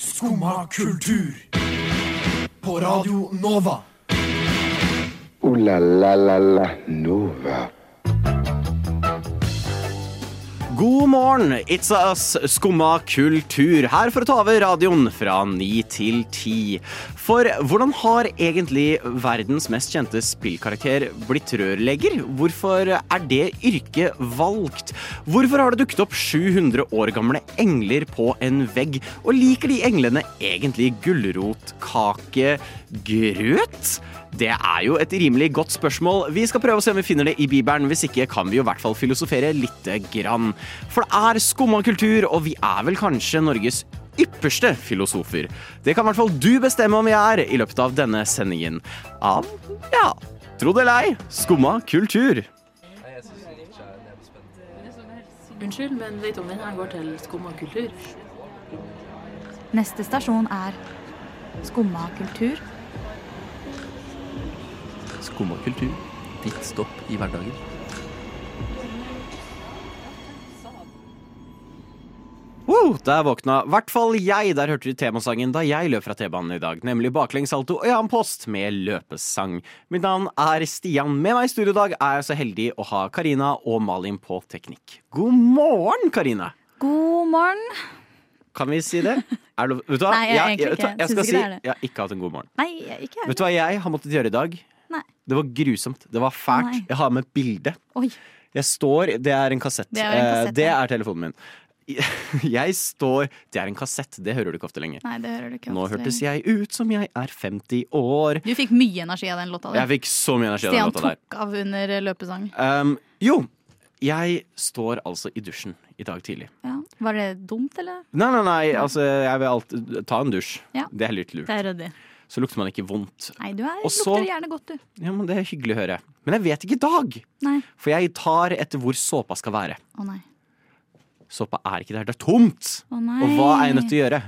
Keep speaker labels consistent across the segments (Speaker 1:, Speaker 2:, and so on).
Speaker 1: Skumma kultur. På Radio Nova.
Speaker 2: Ooh la la la la Nova.
Speaker 3: God morgen, it's us, skumma kultur, her for å ta over radioen fra ni til ti. For hvordan har egentlig verdens mest kjente spillkarakter blitt rørlegger? Hvorfor er det yrket valgt? Hvorfor har det dukket opp 700 år gamle engler på en vegg? Og liker de englene egentlig gulrotkakegrøt? Det er jo et rimelig godt spørsmål. Vi skal prøve å se om vi finner det i Bibelen. Hvis ikke kan vi jo i hvert fall filosofere lite grann. For det er skumma kultur, og vi er vel kanskje Norges ypperste filosofer. Det kan i hvert fall du bestemme om vi er i løpet av denne sendingen. Av ja, tro det eller ei, skumma kultur.
Speaker 4: Unnskyld, men vet om den her går til skum og kultur?
Speaker 5: Mm.
Speaker 6: Neste stasjon er Skumma kultur.
Speaker 7: Skumma kultur. Ditt stopp i hverdagen.
Speaker 3: Wow, der våkna i hvert fall jeg. Der hørte du temasangen da jeg løp fra T-banen i dag. Nemlig baklengssalto og Jan Post med løpesang. Mitt navn er Stian. Med meg i studio i dag er jeg så heldig å ha Karina og Malin på teknikk. God morgen, Karina!
Speaker 6: God morgen.
Speaker 3: Kan vi si det? Er det lov- vet du hva?
Speaker 6: Nei, jeg er egentlig
Speaker 3: vet du hva?
Speaker 6: ikke.
Speaker 3: Jeg
Speaker 6: Synes
Speaker 3: skal
Speaker 6: ikke
Speaker 3: si
Speaker 6: det er det.
Speaker 3: jeg har ikke hatt en god morgen.
Speaker 6: Nei, jeg- ikke jeg.
Speaker 3: Vet du hva jeg har måttet gjøre i dag?
Speaker 6: Nei.
Speaker 3: Det var grusomt. Det var fælt.
Speaker 6: Nei.
Speaker 3: Jeg har med et bilde.
Speaker 6: Oi.
Speaker 3: Jeg står Det er en kassett.
Speaker 6: Det er en kassett,
Speaker 3: Eh, det
Speaker 6: ja.
Speaker 3: er telefonen min. Jeg står Det er en kassett. Det hører du ikke ofte lenger.
Speaker 6: Nei, det hører du ikke.
Speaker 3: Nå
Speaker 6: ofte
Speaker 3: hørtes
Speaker 6: lenger.
Speaker 3: jeg ut som jeg er 50 år.
Speaker 6: Du fikk mye energi av den låta.
Speaker 3: Jeg
Speaker 6: Der.
Speaker 3: fikk så mye energi av den
Speaker 6: Stian
Speaker 3: låta der.
Speaker 6: tok av under løpesang.
Speaker 3: Um, jo, jeg står altså i dusjen i dag tidlig.
Speaker 6: Ja. Var det dumt, eller?
Speaker 3: Nei, nei, nei, altså jeg vil alltid ta en dusj.
Speaker 6: Ja.
Speaker 3: Det er litt lurt.
Speaker 6: er ryddig.
Speaker 3: Så lukter man ikke vondt.
Speaker 6: Nei, du er,
Speaker 3: Og så-
Speaker 6: lukter gjerne godt, du.
Speaker 3: Ja, men Det er hyggelig å høre. Men jeg vet ikke i dag!
Speaker 6: Nei.
Speaker 3: For jeg tar etter hvor såpa skal være.
Speaker 6: Å nei.
Speaker 3: Såpa er ikke der. Det er tomt!
Speaker 6: Å nei.
Speaker 3: Og hva er jeg nødt til å gjøre?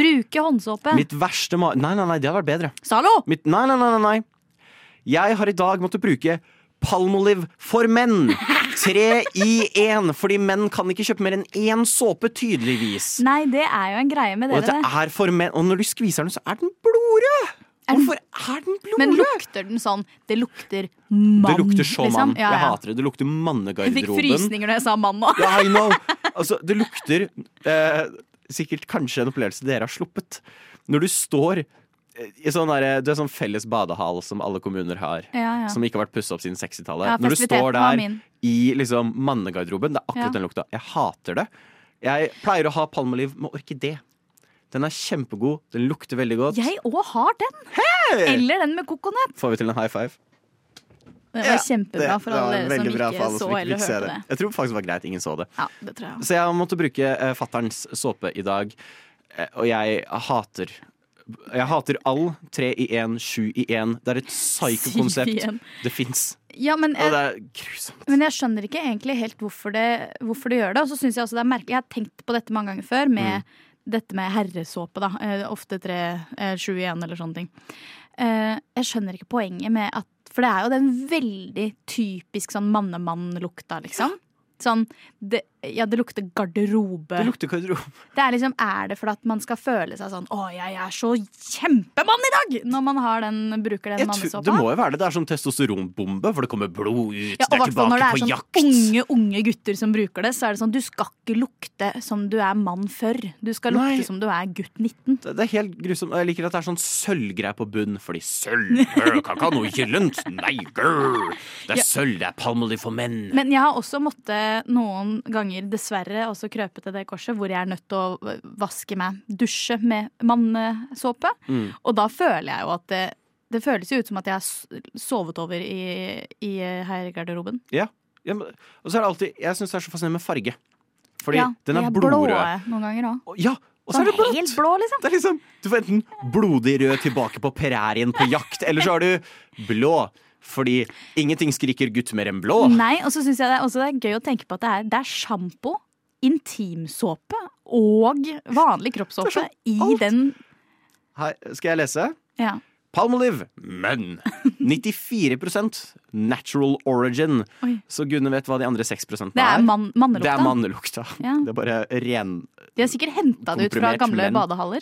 Speaker 6: Bruke håndsåpe.
Speaker 3: Mitt verste ma... Nei, nei, nei, det hadde vært bedre.
Speaker 6: Zalo!
Speaker 3: Mitt, nei, nei, nei, nei, nei. Jeg har i dag måttet bruke Palmolive for menn. Tre i én, fordi menn kan ikke kjøpe mer enn én såpe, tydeligvis.
Speaker 6: Nei, det er jo en greie med
Speaker 3: Og
Speaker 6: dere,
Speaker 3: dette
Speaker 6: det.
Speaker 3: er for menn Og når du skviser den, så er den blodrød! Hvorfor er den
Speaker 6: Men
Speaker 3: blodrød?
Speaker 6: lukter den sånn Det lukter mann. liksom.
Speaker 3: Det lukter så mann.
Speaker 6: Ja,
Speaker 3: Jeg
Speaker 6: ja.
Speaker 3: hater det. Det lukter
Speaker 6: Jeg fikk
Speaker 3: mannegarderoben.
Speaker 6: frysninger når jeg sa mann nå.
Speaker 3: Ja, I know. Altså, det lukter eh, sikkert kanskje en opplevelse dere har sluppet. Når du står eh, i sånn derre- du er sånn felles badehall som alle kommuner har,
Speaker 6: Ja, ja.
Speaker 3: som ikke har vært pussa opp siden 60-tallet.
Speaker 6: Ja,
Speaker 3: Når du
Speaker 6: festiviteten
Speaker 3: står
Speaker 6: var
Speaker 3: der
Speaker 6: min.
Speaker 3: i liksom mannegarderoben, det er akkurat
Speaker 6: Ja.
Speaker 3: den lukta. Jeg hater det. Jeg pleier å ha palmoliv med orkidé. Den er kjempegod, den lukter veldig godt.
Speaker 6: Jeg òg har den. Eller den med kokonett.
Speaker 3: Får vi til en high five?
Speaker 6: Det
Speaker 3: Ja,
Speaker 6: var kjempebra for
Speaker 3: det var
Speaker 6: alle dere som
Speaker 3: veldig bra for
Speaker 6: ikke
Speaker 3: alle
Speaker 6: så
Speaker 3: som ikke
Speaker 6: eller
Speaker 3: fikk se
Speaker 6: hørte det.
Speaker 3: det. Jeg tror faktisk det var greit ingen så det.
Speaker 6: Ja, det tror jeg.
Speaker 3: Så jeg måtte bruke eh, fatterns såpe i dag, eh, og jeg hater jeg hater all. Tre i én, sju i én. Det er et
Speaker 6: Syv i
Speaker 3: psyko-konsept.
Speaker 6: en.
Speaker 3: Det fins.
Speaker 6: Ja, men
Speaker 3: Og det
Speaker 6: jeg,
Speaker 3: er grusomt.
Speaker 6: men jeg skjønner ikke egentlig helt hvorfor det, hvorfor det gjør det. Og så synes jeg også det er merkelig Jeg har tenkt på dette mange ganger før,
Speaker 3: Mm.
Speaker 6: med dette med herresåpe, da. Eh, Ofte tre, eh, sju igjen eller sånne ting. Eh, jeg skjønner ikke poenget med at For det er jo den veldig typisk sånn mannemann-lukta, liksom. Sånn det, Ja, det lukter garderobe.
Speaker 3: Det lukter garderobe.
Speaker 6: Det er liksom, er det for at man skal føle seg sånn Å, jeg er så kjempemann i dag! Når man har den, bruker den
Speaker 3: Jeg tror- Det
Speaker 6: mannesåpa.
Speaker 3: må jo være det. Det er som testosteronbombe, for det kommer blod ut.
Speaker 6: Ja,
Speaker 3: det
Speaker 6: og
Speaker 3: er
Speaker 6: hvert fall når
Speaker 3: tilbake
Speaker 6: det er
Speaker 3: på
Speaker 6: sånn
Speaker 3: jakt.
Speaker 6: unge unge gutter som bruker det, så er det sånn du skal ikke lukte som du er mann før. Du skal lukte
Speaker 3: Nei.
Speaker 6: som du er gutt 19.
Speaker 3: Det det er helt grusomt. Jeg liker at det er sånn sølvgreie på bunn, fordi sølv øh, kan ikke ha noe gyllent. Nei, grr. Det er sølv, det er palmolje for menn.
Speaker 6: Men jeg har også måttet noen ganger, dessverre, også krøpe til det korset hvor jeg er nødt til å vaske meg, dusje med mannesåpe.
Speaker 3: Mm.
Speaker 6: Og da føler jeg jo at det, det føles jo ut som at jeg har s- sovet over i, i eh, herregarderoben.
Speaker 3: Ja, men, og så er det alltid Jeg syns det er så fascinerende med farge. Fordi
Speaker 6: Ja,
Speaker 3: den
Speaker 6: de
Speaker 3: er blodrød.
Speaker 6: blå eh, noen ganger òg.
Speaker 3: Og- Ja, og så er det
Speaker 6: Helt
Speaker 3: blått!
Speaker 6: blå, liksom.
Speaker 3: Det er liksom, du får enten blodig rød tilbake på prærien på jakt, eller så har du blå. Fordi ingenting skriker gutt mer enn blå.
Speaker 6: Nei, og så syns jeg det er, også det er gøy å tenke på at det er, det er sjampo, intimsåpe og vanlig kroppssåpe
Speaker 3: Det er sånn
Speaker 6: i
Speaker 3: alt.
Speaker 6: den.
Speaker 3: Her skal jeg lese.
Speaker 6: Ja.
Speaker 3: Palmolive, men 94 natural origin.
Speaker 6: Oi.
Speaker 3: Så Gunne vet hva de andre 6 er.
Speaker 6: Det er mann,
Speaker 3: Det er
Speaker 6: mannelukta.
Speaker 3: mannelukta.
Speaker 6: Ja.
Speaker 3: Det er bare ren
Speaker 6: De har sikkert henta det ut fra
Speaker 3: Komprimert
Speaker 6: gamle
Speaker 3: menn.
Speaker 6: badehaller.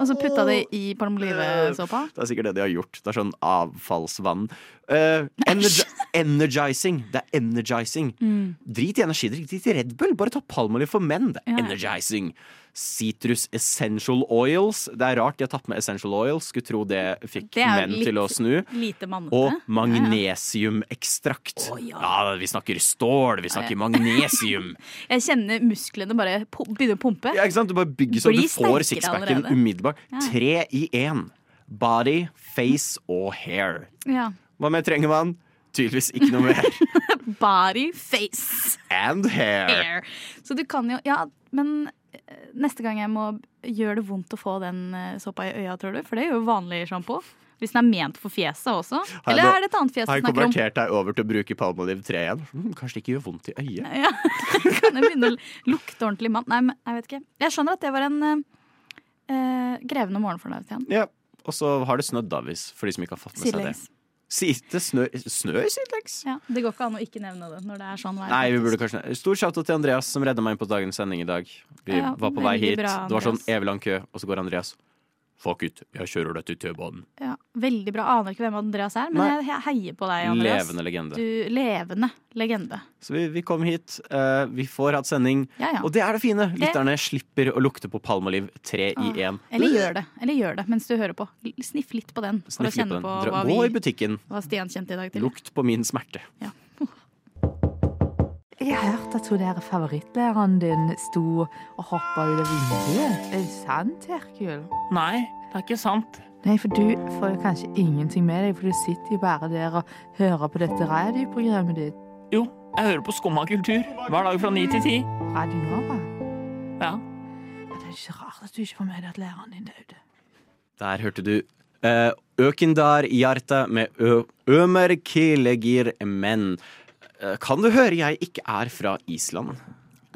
Speaker 6: og så putta det i palmolivesåpa.
Speaker 3: Det er sikkert det de har gjort. Det er sånn avfallsvann. Eh, energi energizing. Det er energizing.
Speaker 6: Mm.
Speaker 3: Drit i energidrikk, drit i Red Bull. Bare ta palmeolje for menn. Det er
Speaker 6: Ja, ja.
Speaker 3: energizing. Citrus essential oils. Det er rart de har tatt med essential oils. Skulle tro det fikk
Speaker 6: Det er jo
Speaker 3: menn
Speaker 6: litt-
Speaker 3: til å snu.
Speaker 6: Lite mannete.
Speaker 3: Og
Speaker 6: Ja, ja.
Speaker 3: magnesiumekstrakt. ja. vi snakker stål, vi snakker magnesium.
Speaker 6: Jeg kjenner musklene bare po- begynne å pumpe.
Speaker 3: Ja, ikke sant? Du bare bygger så
Speaker 6: Bli
Speaker 3: du får
Speaker 6: sterkere
Speaker 3: sixpacken
Speaker 6: allerede.
Speaker 3: umiddelbart. Tre i én. Body, face og hair.
Speaker 6: Ja.
Speaker 3: Hva mer trenger man? Tydeligvis ikke noe mer.
Speaker 6: Body, face,
Speaker 3: And hair.
Speaker 6: hair. Så du kan jo Ja, men eh, neste gang jeg må Gjør det vondt å få den eh, såpa i øya, tror du? For det gjør jo vanlig sjampo. Hvis den er ment for fjeset også.
Speaker 3: jeg
Speaker 6: Eller
Speaker 3: nå-
Speaker 6: er det et annet fjes du
Speaker 3: Har jeg
Speaker 6: snakker om?
Speaker 3: konvertert deg over til å bruke palmeolive 3 igjen? Hmm, kanskje det ikke gjør vondt i øyet?
Speaker 6: Ja, kan jeg begynne å lukte ordentlig mann? Nei, men jeg vet ikke. Jeg skjønner at det var en eh, eh, grevende morgen for deg, Stian.
Speaker 3: Ja. Og så har det snødd, da, hvis, for de som ikke har fått med seg det.
Speaker 6: Sidelengs.
Speaker 3: Si- Det snø, snør sidelengs?
Speaker 6: Ja, det går ikke an å ikke nevne det når det er sånn vær.
Speaker 3: Nei, vi burde kanskje Stor shout-out til Andreas som redda meg inn på dagens sending i dag. Vi
Speaker 6: Ja,
Speaker 3: var på vei hit.
Speaker 6: veldig bra,
Speaker 3: det var sånn
Speaker 6: Andreas.
Speaker 3: evig lang kø, og så går Andreas. Fuck it, jeg kjører deg til T-banen.
Speaker 6: ja, veldig bra. Aner ikke hvem Andreas er, men
Speaker 3: Nei.
Speaker 6: jeg he- heier på deg, Andreas.
Speaker 3: Levende legende.
Speaker 6: Du, levende legende.
Speaker 3: Så vi, vi kom hit. eh, vi får hatt sending.
Speaker 6: Ja, ja.
Speaker 3: Og det er det fine. Lytterne slipper å lukte på palmeoliv tre i
Speaker 6: Ah,
Speaker 3: én.
Speaker 6: Eller gjør det eller gjør det mens du hører på. L- Sniff litt på den for
Speaker 3: Sniff litt på
Speaker 6: å kjenne
Speaker 3: den.
Speaker 6: på
Speaker 3: Dra-
Speaker 6: hva,
Speaker 3: Gå i
Speaker 6: vi,
Speaker 3: butikken.
Speaker 6: hva Stian kjente i dag til.
Speaker 3: Lukt på min smerte.
Speaker 8: Jeg har hørt at hun der favorittlæreren din sto og hoppa ut av vinduet. Er det sant, Herkul?
Speaker 9: Nei, det er ikke sant.
Speaker 8: Nei, for du får jo kanskje ingenting med deg, for du sitter jo bare der og hører på dette radioprogrammet ditt.
Speaker 9: Jo, jeg hører på Skumma kultur hver dag fra ni til ti.
Speaker 8: Radio Nova.
Speaker 9: Ja.
Speaker 8: Ja, Det er ikke så rart at du ikke får med deg at læreren din døde.
Speaker 3: Der hørte du eh, Økindar Hjarta med ø Ømerkilegir menn. Eh, kan du høre jeg ikke er fra Island?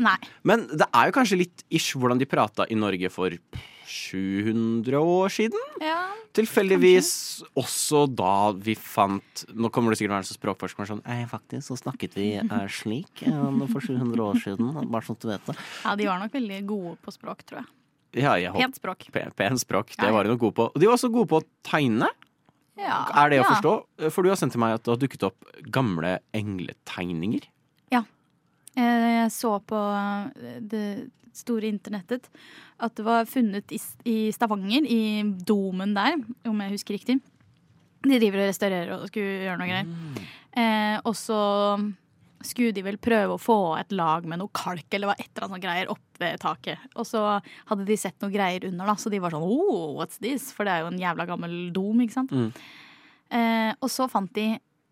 Speaker 6: Nei.
Speaker 3: Men det er jo kanskje litt ish hvordan de prata i Norge for 700 år siden?
Speaker 6: Ja.
Speaker 3: Tilfeldigvis også da vi fant Nå kommer det sikkert være en sånn språkforsker som er sånn Nei, faktisk så snakket vi eh, slik eh, for 700 år siden. Bare sånn at du vet det.
Speaker 6: ja, de var nok veldig gode på språk, tror jeg.
Speaker 3: Ja, jeg håper
Speaker 6: Pent språk.
Speaker 3: Pen, pen språk.
Speaker 6: Ja,
Speaker 3: Det
Speaker 6: ja.
Speaker 3: var de nok gode på. Og de var også gode på å tegne.
Speaker 6: Ja.
Speaker 3: Er det å
Speaker 6: ja.
Speaker 3: forstå? For du har sendt til meg at det har dukket opp gamle engletegninger.
Speaker 6: Eh, Jeg så på eh, det store internettet at det var funnet i S- i Stavanger, i domen der, om jeg husker riktig. De driver og restaurerer og skulle gjøre noe greier. Eh, og så skulle de vel prøve å få et lag med noe kalk eller hva et eller annet sånt greier opp ved taket. Og så hadde de sett noe greier under, da, så de var sånn oh, what's this? For det er jo en jævla gammel dom, ikke sant.
Speaker 3: Mm.
Speaker 6: Eh, og så fant de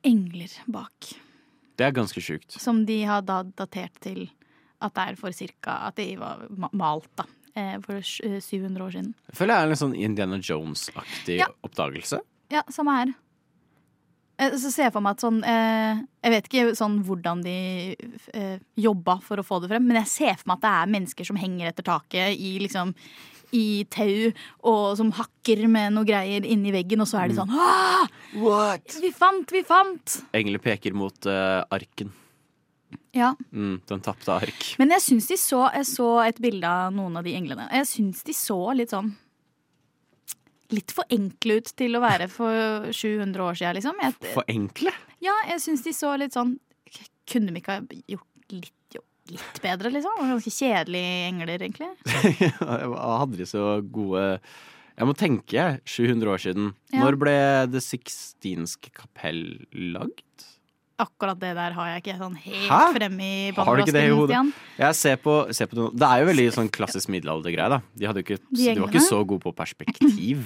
Speaker 6: engler bak
Speaker 3: Det er ganske sjukt.
Speaker 6: som de har da datert til at det er for cirka at de var ma- malt da, eh, for sj- eh, 700 år siden.
Speaker 3: Jeg føler jeg er en litt sånn Indiana Jones-aktig
Speaker 6: Ja.
Speaker 3: oppdagelse.
Speaker 6: Ja, samme her. Eh, Så ser jeg for meg at sånn eh, Jeg vet ikke sånn hvordan de eh, jobba for å få det frem, men jeg ser for meg at det er mennesker som henger etter taket i liksom i tau, og som hakker med noe greier inni veggen, og så er de sånn Åh,
Speaker 3: What?
Speaker 6: Vi fant! Vi fant!
Speaker 3: Engler peker mot eh, arken.
Speaker 6: Ja.
Speaker 3: Mm, den tapte ark.
Speaker 6: Men jeg syns de så Jeg så et bilde av noen av de englene. Jeg syns de så litt sånn Litt for enkle ut til å være for 700 år siden, liksom. Jeg,
Speaker 3: For enkle?
Speaker 6: ja, jeg syns de så litt sånn k- Kunne de ikke ha gjort litt, jo, litt bedre, liksom? Det var Ganske kjedelige engler, egentlig.
Speaker 3: Jeg hadde de så gode Jeg må tenke, jeg. 700 år siden.
Speaker 6: Ja.
Speaker 3: Når ble Det Sixtinske kapell lagd?
Speaker 6: Akkurat det der har jeg ikke sånn helt
Speaker 3: Hæ?
Speaker 6: fremme i
Speaker 3: Har du ikke det i
Speaker 6: bandvasken,
Speaker 3: hodet?
Speaker 6: Stian.
Speaker 3: Jeg ser på, ser på det, nå. det er jo veldig sånn klassisk middelaldergreie, da. De, hadde jo ikke,
Speaker 6: De
Speaker 3: de var
Speaker 6: englene?
Speaker 3: ikke så gode på perspektiv.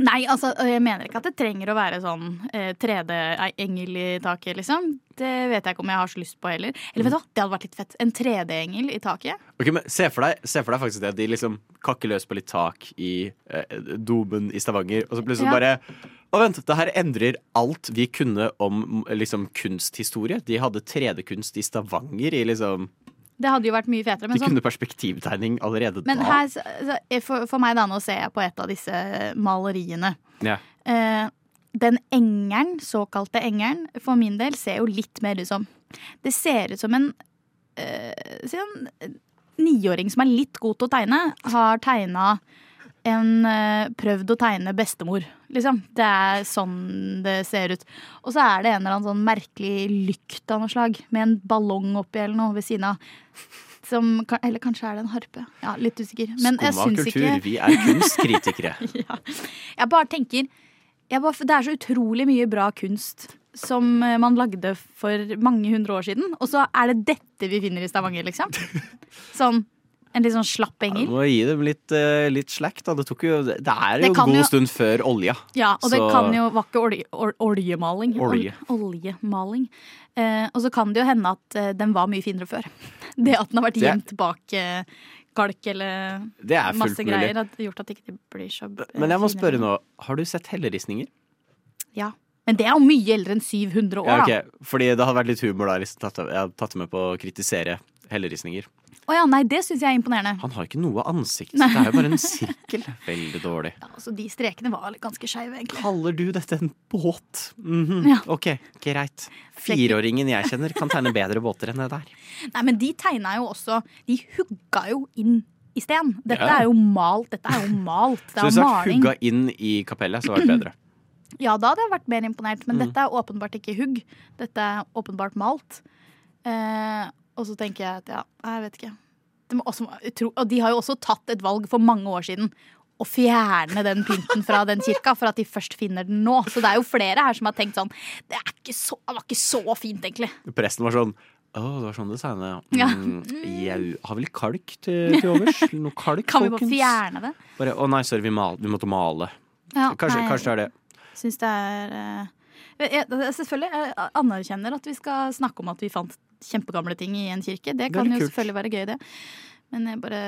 Speaker 6: Nei, altså, jeg mener ikke at det trenger å være sånn eh, 3D-engel i taket, liksom. Det vet jeg ikke om jeg har så lyst på heller. Eller vet du hva, det hadde vært litt fett. En 3D-engel i taket.
Speaker 3: Ok, men se for, deg, se for deg faktisk det at de liksom kakker løs på litt tak i eh, domen i Stavanger, og så plutselig
Speaker 6: Ja.
Speaker 3: bare Å, vent, det her endrer alt vi kunne om mm, liksom, kunsthistorie. De hadde 3D-kunst i Stavanger i liksom
Speaker 6: Det hadde jo vært mye
Speaker 3: De
Speaker 6: fetere. Men, sånn,
Speaker 3: kunne perspektivtegning allerede
Speaker 6: men
Speaker 3: da.
Speaker 6: her, så- så- for, for meg da, nå ser jeg på et av disse maleriene.
Speaker 3: Ja.
Speaker 6: Eh, den engelen, såkalte engelen, for min del ser jo litt mer ut som Det ser ut som en eh, si en niåring som er litt god til å tegne, har tegna en eh, prøvd å tegne bestemor, liksom. Det er sånn det ser ut. Og så er det en eller annen sånn merkelig lykt av noe slag, med en ballong oppi eller noe ved siden av. Som, kan- eller kanskje er det en harpe. Ja, Litt usikker. Men jeg
Speaker 3: Skumma
Speaker 6: syns
Speaker 3: kultur,
Speaker 6: ikke
Speaker 3: vi er kunstkritikere.
Speaker 6: Jeg bare tenker jeg bare, Det er så utrolig mye bra kunst som eh, man lagde for mange hundre år siden, og så er det dette vi finner i Stavanger, liksom. Sånn en litt sånn slapp
Speaker 3: Du
Speaker 6: engel.
Speaker 3: må gi dem litt, eh, litt slack, da. Det, tok jo, det er jo
Speaker 6: Det
Speaker 3: en
Speaker 6: kan
Speaker 3: god
Speaker 6: jo-
Speaker 3: stund før olja.
Speaker 6: Ja, og det
Speaker 3: Så-
Speaker 6: kan jo Var ikke olje, ol, oljemaling? Ol-
Speaker 3: Olje.
Speaker 6: Oljemaling. Eh, og så kan det jo hende at eh, den var mye finere før. Det at den har vært
Speaker 3: Det-
Speaker 6: gjemt bak eh, kalk eller
Speaker 3: Det er fullt
Speaker 6: masse
Speaker 3: mulig.
Speaker 6: greier, har gjort at det ikke blir så eh,
Speaker 3: Men jeg må
Speaker 6: finere.
Speaker 3: spørre nå, har du sett helleristninger?
Speaker 6: Ja. Men det er jo mye eldre enn 700 år,
Speaker 3: Ja,
Speaker 6: da.
Speaker 3: ok, Fordi det hadde vært litt humor da hvis jeg liksom tatt- jeg hadde tatt med på å kritisere helleristninger.
Speaker 6: Å ja, nei, det syns jeg er imponerende.
Speaker 3: Han har ikke noe ansikt, så det er jo bare en sirkel. Veldig dårlig.
Speaker 6: Ja, altså, de strekene var ganske skeive, egentlig.
Speaker 3: Kaller du dette en båt? Mhm,
Speaker 6: Ja.
Speaker 3: Ok, greit. Fireåringen jeg kjenner kan tegne bedre båter enn det der.
Speaker 6: Nei, men de tegna jo også De hugga jo inn i sten. Dette
Speaker 3: Ja.
Speaker 6: er jo malt. Dette er jo malt. Det
Speaker 3: Så
Speaker 6: er
Speaker 3: hvis
Speaker 6: jo
Speaker 3: du hadde
Speaker 6: maling.
Speaker 3: hugga inn i kapellet, så hadde det vært bedre.
Speaker 6: Ja, da hadde jeg vært mer imponert,
Speaker 3: Mm.
Speaker 6: men dette er åpenbart ikke hugg. Dette er åpenbart malt. Eh, og så tenker jeg at ja, jeg vet ikke. Det må også, utro- og de har jo også tatt et valg for mange år siden. Å fjerne den pynten fra den kirka for at de først finner den nå. Så det er jo flere her som har tenkt sånn Det, er ikke så, det var ikke så fint, egentlig.
Speaker 3: Presten var sånn å, det var sånn det tegna, ja.
Speaker 6: Ja.
Speaker 3: Mm, jeg har vel kalk til, til overs? Noe kalk,
Speaker 6: Kan vi bare
Speaker 3: folkens?
Speaker 6: fjerne det?
Speaker 3: Bare, å nei, sorry, vi, mal, vi måtte male.
Speaker 6: Ja,
Speaker 3: Kanskje,
Speaker 6: nei,
Speaker 3: kanskje det er det.
Speaker 6: Syns det er eh, jeg, jeg- Selvfølgelig. Jeg anerkjenner at vi skal snakke om at vi fant kjempegamle ting i en kirke. Det kan
Speaker 3: litt
Speaker 6: jo
Speaker 3: kult.
Speaker 6: selvfølgelig være gøy, det. Men jeg bare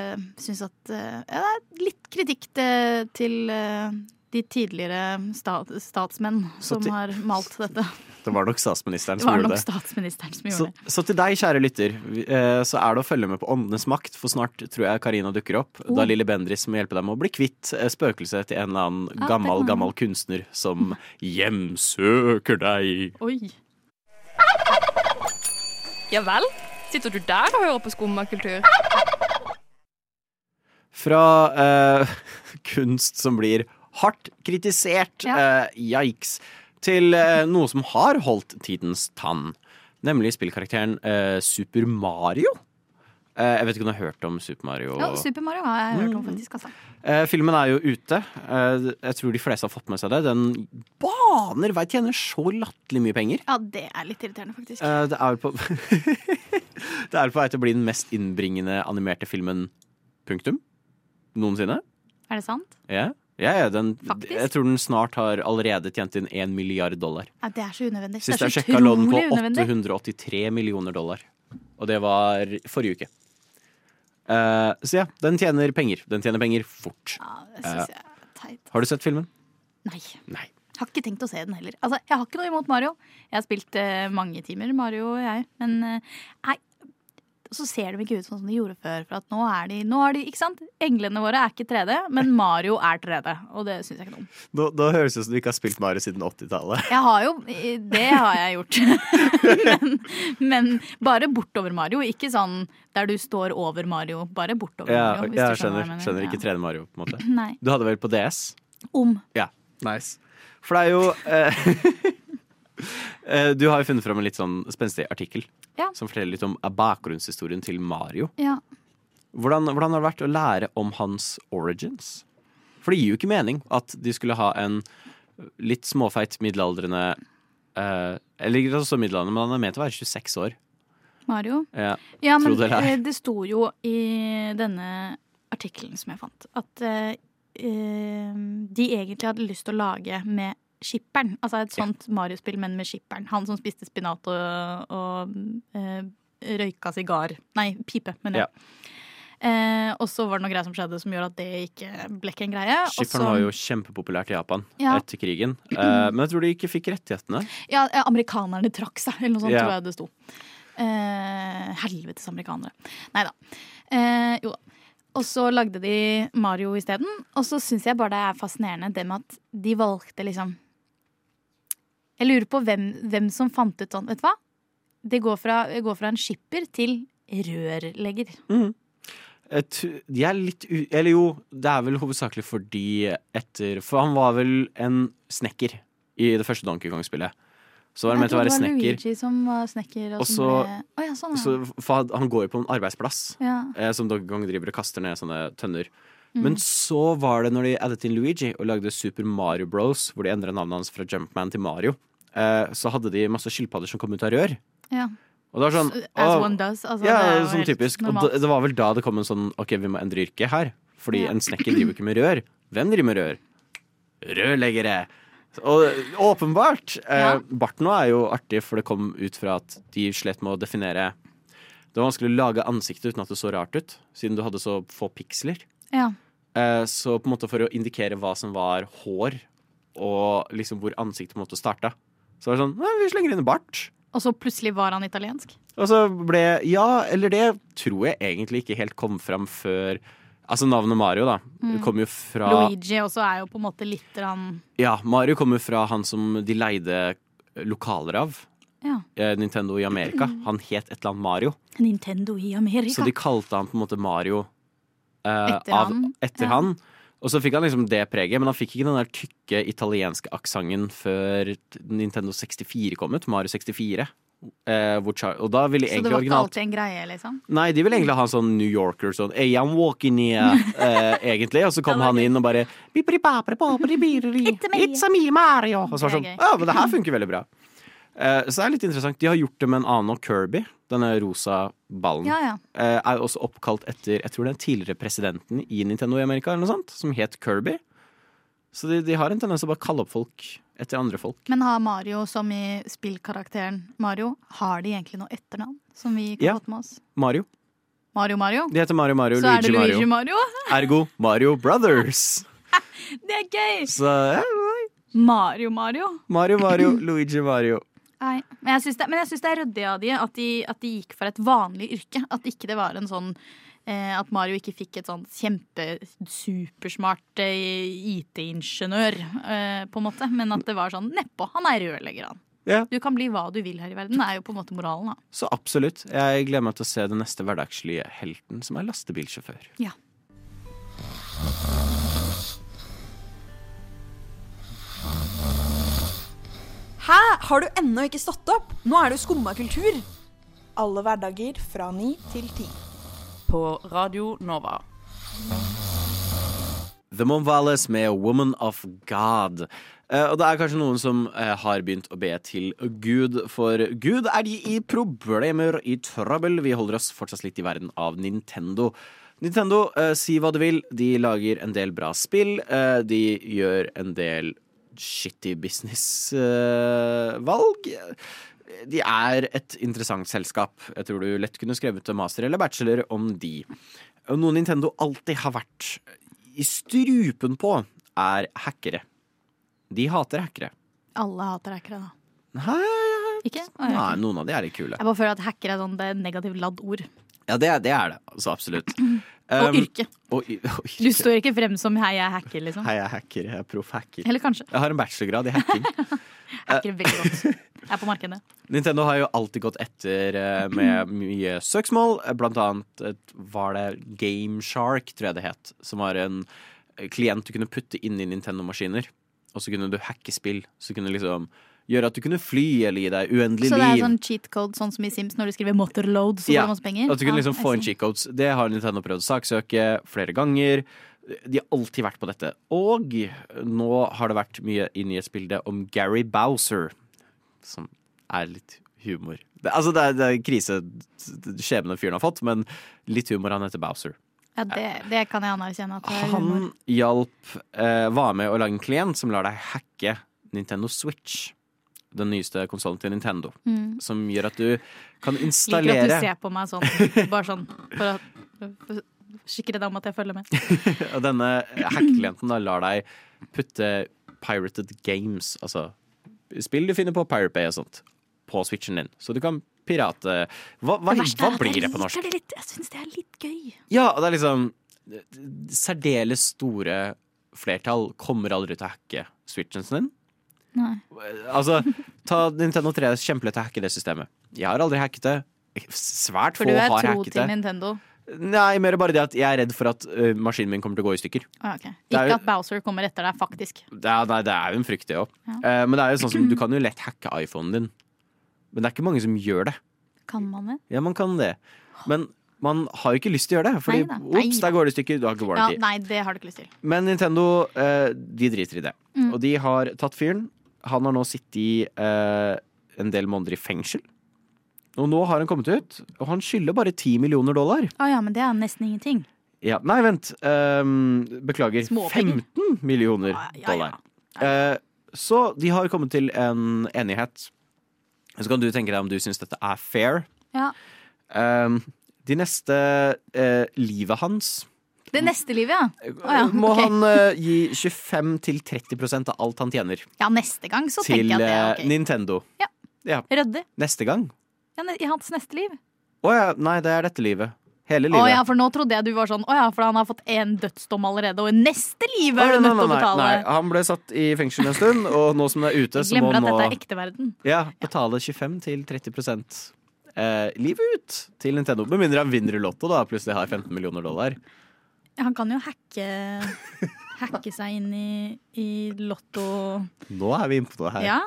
Speaker 6: syns at eh, ja, Det er litt kritikk til, til eh, de tidligere sta- statsmenn
Speaker 3: Så
Speaker 6: som
Speaker 3: til-
Speaker 6: har malt dette.
Speaker 3: Det var nok statsministeren
Speaker 6: Det
Speaker 3: som
Speaker 6: var
Speaker 3: gjorde
Speaker 6: nok
Speaker 3: det.
Speaker 6: statsministeren som
Speaker 3: Så,
Speaker 6: gjorde det.
Speaker 3: så til deg, kjære lytter, vi- eh, så er det å følge med på Åndenes makt, for snart tror jeg Karina dukker opp,
Speaker 6: Oh.
Speaker 3: da Lille Bendris må hjelpe deg med å bli kvitt eh, spøkelset til en eller annen
Speaker 6: det
Speaker 3: gammel,
Speaker 6: kan han.
Speaker 3: gammel kunstner som hjemsøker deg.
Speaker 6: Oi.
Speaker 10: Ja vel? Sitter du der og hører på skummakultur?
Speaker 3: Fra eh, kunst som blir hardt kritisert, eh, yikes, til eh, noe som har holdt tidens tann, nemlig spillkarakteren eh, Super Mario. Eh, jeg vet ikke om du har hørt om Super Mario?
Speaker 6: Ja, Super Mario har jeg
Speaker 3: Mm.
Speaker 6: hørt om, faktisk. Altså.
Speaker 3: Eh, filmen er jo ute. Eh, jeg tror de fleste har fått med seg det. Den baner vei tjener så latterlig mye penger.
Speaker 6: Ja, det er litt irriterende, faktisk.
Speaker 3: Eh, det er vel på Det er vel på vei til å bli den mest innbringende animerte filmen punktum noensinne.
Speaker 6: Er det sant?
Speaker 3: Ja, ja, ja den,
Speaker 6: Faktisk?
Speaker 3: jeg tror den snart har allerede tjent inn én milliard dollar.
Speaker 6: Ja, det er så unødvendig.
Speaker 3: Sist
Speaker 6: det
Speaker 3: jeg
Speaker 6: er så
Speaker 3: sjekka, lå den på
Speaker 6: utrolig unødvendig.
Speaker 3: 883 millioner dollar. Og det var forrige uke. Eh, så ja, den tjener penger. Den tjener penger fort.
Speaker 6: Ja, det syns jeg er teit.
Speaker 3: Har du sett filmen?
Speaker 6: Nei.
Speaker 3: Nei.
Speaker 6: Har ikke tenkt å se den heller. Altså, Jeg har ikke noe imot Mario. Jeg har spilt eh, mange timer Mario, jeg. Men eh, nei, så ser de ikke ut sånn som de gjorde før. For at nå er de, nå er de ikke sant? Englene våre er ikke 3D, men Mario er 3D. Og det syns jeg ikke noe om.
Speaker 3: Da, da høres det ut som du ikke har spilt Mario siden 80-tallet.
Speaker 6: Jeg har jo eh, Det har jeg gjort. men, men bare bortover Mario. Ikke sånn der du står over Mario. Bare bortover
Speaker 3: Ja,
Speaker 6: Mario. hvis
Speaker 3: jeg
Speaker 6: du
Speaker 3: skjønner,
Speaker 6: skjønner, hva jeg
Speaker 3: skjønner
Speaker 6: mener.
Speaker 3: ikke 3D Mario, på en måte.
Speaker 6: Ja. Nei.
Speaker 3: Du hadde vel på DS?
Speaker 6: Om.
Speaker 3: Ja. Nice. For det er jo eh, eh, Du har jo funnet fram en litt sånn spenstig artikkel
Speaker 6: Ja.
Speaker 3: som forteller litt om eh, bakgrunnshistorien til Mario.
Speaker 6: Ja.
Speaker 3: Hvordan, hvordan har det vært å lære om hans origins? For det gir jo ikke mening at de skulle ha en litt småfeit middelaldrende eh, Eller ikke så middelaldrende, men han er ment til å være 26 år.
Speaker 6: Mario.
Speaker 3: Ja.
Speaker 6: Ja, men
Speaker 3: Tro det eller ei.
Speaker 6: eh, det sto jo i denne artikkelen som jeg fant, at eh, eh, de egentlig hadde lyst til å lage med skipperen. Altså et sånt Mario-spill, men med skipperen. Han som spiste spinat og, og eh, røyka sigar. Nei, pipe, mener jeg. Eh, og så var det noe greier som skjedde som gjorde at det ikke ble ikke en greie. og
Speaker 3: Skipperen
Speaker 6: så-
Speaker 3: var jo kjempepopulært i Japan
Speaker 6: Ja.
Speaker 3: etter krigen. Eh, men jeg tror de ikke fikk rettighetene.
Speaker 6: Ja, ja, amerikanerne trakk seg, eller noe sånt
Speaker 3: Ja.
Speaker 6: tror jeg det sto. Eh, helvetes amerikanere. Nei da. Eh, jo da. Og så lagde de Mario isteden. Og så syns jeg bare det er fascinerende det med at de valgte liksom Jeg lurer på hvem, hvem som fant ut sånn, vet du hva? Det går fra, går fra en skipper til rørlegger.
Speaker 3: Jeg tu- jeg er litt u... Eller jo, det er vel hovedsakelig fordi etter For han var vel en snekker i det første Donkey Kong-spillet. Så var han
Speaker 6: Jeg
Speaker 3: ment til å være
Speaker 6: trodde det var
Speaker 3: snekker.
Speaker 6: Luigi som var snekker. Og
Speaker 3: Og
Speaker 6: som
Speaker 3: så-
Speaker 6: ble... Å ja, sånn,
Speaker 3: Så,
Speaker 6: ja.
Speaker 3: for han- han går jo på en arbeidsplass
Speaker 6: ja.
Speaker 3: eh, som Donkey Kong driver og kaster ned sånne tønner.
Speaker 6: Mm.
Speaker 3: Men så var det når de addet inn Luigi og lagde Super Mario Bros, hvor de endra navnet hans fra Jumpman til Mario, eh, så hadde de masse skilpadder som kom ut av rør.
Speaker 6: ja.
Speaker 3: Og det var sånn
Speaker 6: As
Speaker 3: «Å,
Speaker 6: one does. Altså,
Speaker 3: ja,
Speaker 6: det er jo
Speaker 3: sånn
Speaker 6: helt
Speaker 3: typisk. Og
Speaker 6: normalt.
Speaker 3: det, det var vel da det kom en sånn OK, vi må endre yrke her. Fordi
Speaker 6: Ja.
Speaker 3: en snekker driver ikke med rør. Hvem driver med rør? Rørleggere. Og åpenbart.
Speaker 6: Ja.
Speaker 3: Eh, Barten nå er jo artig, for det kom ut fra at de slet med å definere Det var vanskelig å lage ansiktet uten at det så rart ut, siden du hadde så få piksler.
Speaker 6: Ja.
Speaker 3: Eh, så på en måte for å indikere hva som var hår, og liksom hvor ansiktet på en måte starta, så var det sånn Nei, vi slenger inn en bart.
Speaker 6: Og så plutselig var han italiensk.
Speaker 3: Og så ble Ja, eller det tror jeg egentlig ikke helt kom fram før Altså navnet Mario, da. Kom jo fra
Speaker 6: Mm. Luigi også er jo på en måte litt rann...
Speaker 3: Ja, Mario kommer fra han som de leide lokaler av.
Speaker 6: Ja. Mm.
Speaker 3: eh, Nintendo i Amerika. Han het et eller annet Mario.
Speaker 6: Nintendo i Amerika.
Speaker 3: Så de kalte han på en måte Mario eh,
Speaker 6: Etter
Speaker 3: av,
Speaker 6: han,
Speaker 3: etter
Speaker 6: ja.
Speaker 3: han. Og så fikk han liksom det preget, men han fikk ikke den der tykke italienske aksenten før Nintendo 64 kom ut. Mario 64. Eh, hvor Char og da ville
Speaker 6: Så det
Speaker 3: egentlig
Speaker 6: var ikke
Speaker 3: originalt
Speaker 6: alltid en greie, liksom?
Speaker 3: Nei, de vil egentlig ha en sånn New Yorker sånn hey, I'm walking here, eh, egentlig. Og så kom han inn og bare It's
Speaker 6: me.
Speaker 3: a me, Mario. Og så var det sånn
Speaker 6: Det er gøy.
Speaker 3: Ja, men det her funker veldig bra. Eh, så det er litt interessant. De har gjort det med en annen og Kirby, denne rosa ballen.
Speaker 6: Ja, ja.
Speaker 3: Eh, er også oppkalt etter jeg tror den tidligere presidenten i Nintendo i Amerika, eller noe sånt, som het Kirby. Så de, de har en tendens til å bare kalle opp folk etter andre folk.
Speaker 6: Men har Mario, som i spillkarakteren Mario, har de egentlig noe etternavn som vi kan
Speaker 3: Ja.
Speaker 6: fått med oss?
Speaker 3: Mario.
Speaker 6: Mario Mario?
Speaker 3: De heter Mario Mario,
Speaker 6: Så er det
Speaker 3: Luigi Mario.
Speaker 6: Luigi Mario?
Speaker 3: Ergo Mario Brothers.
Speaker 6: Det er gøy!
Speaker 3: Så ja,
Speaker 6: Mario Mario.
Speaker 3: Mario Mario, Luigi Mario.
Speaker 6: Nei. Men jeg syns det, men jeg synes det er ryddig av de at, de at de gikk for et vanlig yrke. At ikke det var en sånn eh, At Mario ikke fikk et sånn kjempesupersmart eh, IT-ingeniør, eh, på en måte. Men at det var sånn nedpå. Han er rørlegger, han.
Speaker 3: Ja.
Speaker 6: Du kan bli hva du vil her i verden. Det er jo på en måte moralen, da.
Speaker 3: Så absolutt. Jeg gleder meg til å se den neste hverdagslige helten, som er lastebilsjåfør.
Speaker 6: Ja.
Speaker 11: Hæ, har du ennå ikke stått opp? Nå er det jo skumma kultur. Alle hverdager fra ni til ti.
Speaker 12: På Radio Nova.
Speaker 3: The Monvales med Woman of God. Eh, og det er kanskje noen som eh, har begynt å be til Gud, for Gud er de i problemer, i trøbbel. Vi holder oss fortsatt litt i verden av Nintendo. Nintendo, eh, si hva du vil, de lager en del bra spill. eh, de gjør en del shitty business-valg. de er et interessant selskap. Jeg tror du lett kunne skrevet en master eller bachelor om de. Og noe Nintendo alltid har vært i strupen på, er hackere. De hater hackere.
Speaker 6: Alle hater hackere, da.
Speaker 3: Nei,
Speaker 6: Ikke? Å,
Speaker 3: nei,
Speaker 6: ja, ok.
Speaker 3: noen av de er litt kule.
Speaker 6: Jeg bare føler at hacker er sånn det er negativt ladd ord.
Speaker 3: Ja, det, det er det. Altså, absolutt.
Speaker 6: Og
Speaker 3: Um,
Speaker 6: yrke.
Speaker 3: og y- og
Speaker 6: Du
Speaker 3: yrke.
Speaker 6: står ikke frem som 'hei, jeg er hacker', liksom.
Speaker 3: Hei, jeg er hacker. Jeg er proff hacker.
Speaker 6: Eller kanskje.
Speaker 3: Jeg har en bachelorgrad i hacking.
Speaker 6: Hacker veldig godt. Jeg er på markedet.
Speaker 3: Nintendo har jo alltid gått etter eh, med mye søksmål. Eh, Blant annet et, var det GameShark, tror jeg det het, som var en eh, klient du kunne putte inn i Nintendo-maskiner. Og så kunne du hacke spill. Så kunne liksom gjøre at du kunne fly eller gi deg uendelig
Speaker 6: Så det er
Speaker 3: liv.
Speaker 6: sånn cheat code, sånn som i Sims, når du skriver 'motorload', så får
Speaker 3: Ja,
Speaker 6: du masse penger?
Speaker 3: At du kunne liksom
Speaker 6: Ja,
Speaker 3: få
Speaker 6: jeg
Speaker 3: inn
Speaker 6: ser.
Speaker 3: cheat codes. Det har Nintendo prøvd å saksøke flere ganger. De har alltid vært på dette. Og nå har det vært mye i nyhetsbildet om Gary Bowser, som er litt humor. Det, altså det er, det er krise skjebne fyren har fått, men litt humor. Han heter Bowser.
Speaker 6: Ja, det, det kan jeg anerkjenne at det er humor.
Speaker 3: Han hjalp eh, Var med å lage en klient som lar deg hacke Nintendo Switch. Den nyeste konsollen til Nintendo.
Speaker 6: Mm.
Speaker 3: Som gjør at du kan installere
Speaker 6: Liker at du ser på meg sånn, bare sånn for å for å sikre deg om at jeg følger med.
Speaker 3: Og denne hackeklienten da lar deg putte pirated games, altså spill du finner på Pirate Bay og sånt, på switchen din. Så du kan pirate Hva, hva, hva blir det på norsk?
Speaker 6: Jeg, liker det litt. jeg syns det er litt gøy.
Speaker 3: Ja, og det er liksom Særdeles store flertall kommer aldri til å hacke switchen sin.
Speaker 6: Nei.
Speaker 3: Altså, ta Nintendo 3 kjempelett til å hacke det systemet. Jeg har aldri hacket det. Svært
Speaker 6: For
Speaker 3: få
Speaker 6: du er
Speaker 3: har
Speaker 6: tro
Speaker 3: hacket
Speaker 6: til
Speaker 3: det.
Speaker 6: Nintendo.
Speaker 3: Nei, mer bare det at jeg er redd for at eh, maskinen min kommer til å gå i stykker.
Speaker 6: Ah, ok.
Speaker 3: Det er
Speaker 6: Ikke
Speaker 3: jo-
Speaker 6: at Bowser kommer etter deg, faktisk.
Speaker 3: Det er, nei, det er jo en frykt, det òg.
Speaker 6: Ja.
Speaker 3: men det er jo sånn som, du kan jo lett hacke iPhonen din. Men det er ikke mange som gjør det.
Speaker 6: Kan man det?
Speaker 3: Ja, man kan det. Men man har jo ikke lyst til å gjøre det. Fordi
Speaker 6: Neida.
Speaker 3: ops,
Speaker 6: Neida.
Speaker 3: der går det i stykker. Du har ikke
Speaker 6: Ja,
Speaker 3: warranty.
Speaker 6: nei, det har du ikke lyst til.
Speaker 3: Men Nintendo eh, de driter i det.
Speaker 6: Mm.
Speaker 3: Og de har tatt fyren. Han har nå sittet i eh, en del måneder i fengsel. Og nå har han kommet ut, og han skylder bare 10 millioner dollar.
Speaker 6: Å Ah, ja, men det er nesten ingenting.
Speaker 3: Ja, nei, vent. eh, beklager.
Speaker 6: Småpenger.
Speaker 3: 15 millioner
Speaker 6: Ah,
Speaker 3: dollar. Eh, så de har kommet til en enighet. Så kan du tenke deg om du syns dette er fair.
Speaker 6: Ja.
Speaker 3: Eh, de neste eh, Livet hans
Speaker 6: Det neste livet, ja. Å ja.
Speaker 3: må
Speaker 6: ok.
Speaker 3: han eh, gi 25-30 av alt han tjener
Speaker 6: ja, neste gang så
Speaker 3: til
Speaker 6: tenker
Speaker 3: eh,
Speaker 6: jeg at det er ok.
Speaker 3: Nintendo.
Speaker 6: Ja. Ryddig.
Speaker 3: Neste gang?
Speaker 6: Ja, ne- I hans neste liv.
Speaker 3: Å ja, nei, det er dette livet. Hele
Speaker 6: Å
Speaker 3: livet.
Speaker 6: ja, for nå trodde jeg du var sånn Å ja, for han har fått én dødsdom allerede, og i neste liv
Speaker 3: Å,
Speaker 6: er
Speaker 3: ja,
Speaker 6: du
Speaker 3: nei,
Speaker 6: nødt til å
Speaker 3: nei, nei,
Speaker 6: betale.
Speaker 3: nei. Han ble satt i fengsel en stund, og nå som det er ute, så må
Speaker 6: Glemmer
Speaker 3: han
Speaker 6: at
Speaker 3: nå
Speaker 6: dette er ekte verden.
Speaker 3: ja, betale 25-30 eh, livet ut til Nintendo. Med mindre han vinner i Lotto, da, plutselig har 15 millioner dollar.
Speaker 6: Han kan jo hacke Hacke seg inn i, i lotto...
Speaker 3: Nå er vi inne på noe her.
Speaker 6: Ja.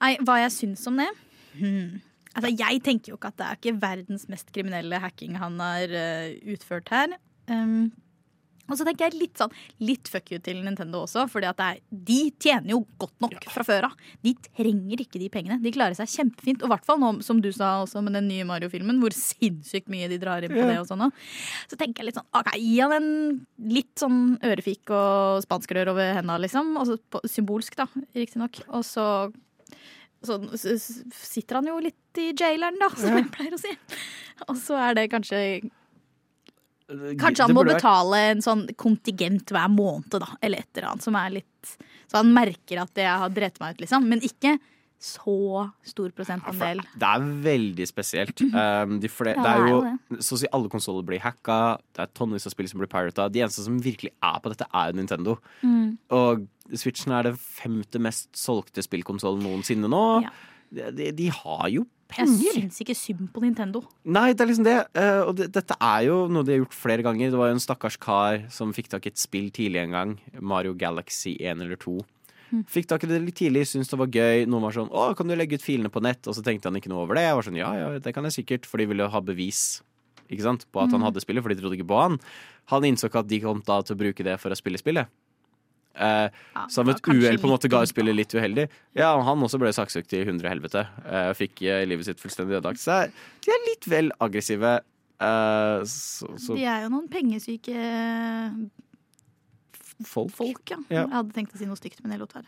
Speaker 6: Nei, hva jeg syns om det? Hmm. Altså, jeg tenker jo ikke at det er ikke verdens mest kriminelle hacking han har eh, utført her. Um, og så tenker jeg litt sånn litt fuck you til Nintendo også, fordi at det er, de tjener jo godt nok fra før av. De trenger ikke de pengene. De klarer seg kjempefint. Og i hvert fall nå, som du sa også med den nye Mario-filmen, hvor sinnssykt mye de drar inn på
Speaker 13: Ja.
Speaker 6: det og sånn. også. Så tenker jeg litt sånn OK, gi han en litt sånn ørefik og spanskrør over henda, liksom. Altså på, symbolsk, da, riktignok. Og så, så s- s- sitter han jo litt i jaileren, da, som
Speaker 13: Ja.
Speaker 6: jeg pleier å si. Og så er det kanskje
Speaker 13: Det
Speaker 3: Eh,
Speaker 6: Kanskje han må
Speaker 13: burde vært-
Speaker 6: betale en sånn kontingent hver måned, da, eller et eller annet. Som er litt Så han merker at jeg har drept meg ut, liksom. Men ikke så stor prosentandel.
Speaker 3: Det er veldig spesielt. Um, de fle
Speaker 6: Ja,
Speaker 3: det er
Speaker 6: det er
Speaker 3: jo
Speaker 6: jo
Speaker 3: Så å si alle konsoller blir hacka. Det er tonnevis av spill som blir pirata. De eneste som virkelig er på dette, er Nintendo.
Speaker 6: Mm.
Speaker 3: Og Switchen er den femte mest solgte spillkonsollen noensinne nå. De, de, de har jo
Speaker 6: Jeg
Speaker 3: penger.
Speaker 6: syns ikke synd på Nintendo.
Speaker 3: Nei, det er liksom det. Eh, og det, dette er jo noe de har gjort flere ganger. Det var jo en stakkars kar som fikk tak i et spill tidlig en gang. Mario Galaxy 1 eller 2. Fikk tak i det litt tidlig, syntes det var gøy. Noen var sånn 'Å, kan du legge ut filene på nett?' Og så tenkte han ikke noe over det. Jeg var sånn 'Ja, ja, det kan jeg sikkert', for de ville ha bevis ikke sant? på at han
Speaker 14: Mm.
Speaker 3: hadde spillet, for de trodde ikke på han. Han innså ikke at de kom da til å bruke det for å spille spillet. Eh, så han ved et uhell på en måte ga ut spillet litt uheldig. Ja, og han også ble saksøkt i hundre helvete. eh, og fikk eh, livet sitt fullstendig ødelagt. Så det er- de er litt vel aggressive. eh, så, så
Speaker 6: De er jo noen pengesyke eh,
Speaker 3: folk.
Speaker 6: folk, ja.
Speaker 3: Ja.
Speaker 6: Jeg hadde tenkt å si noe stygt, men jeg lot være.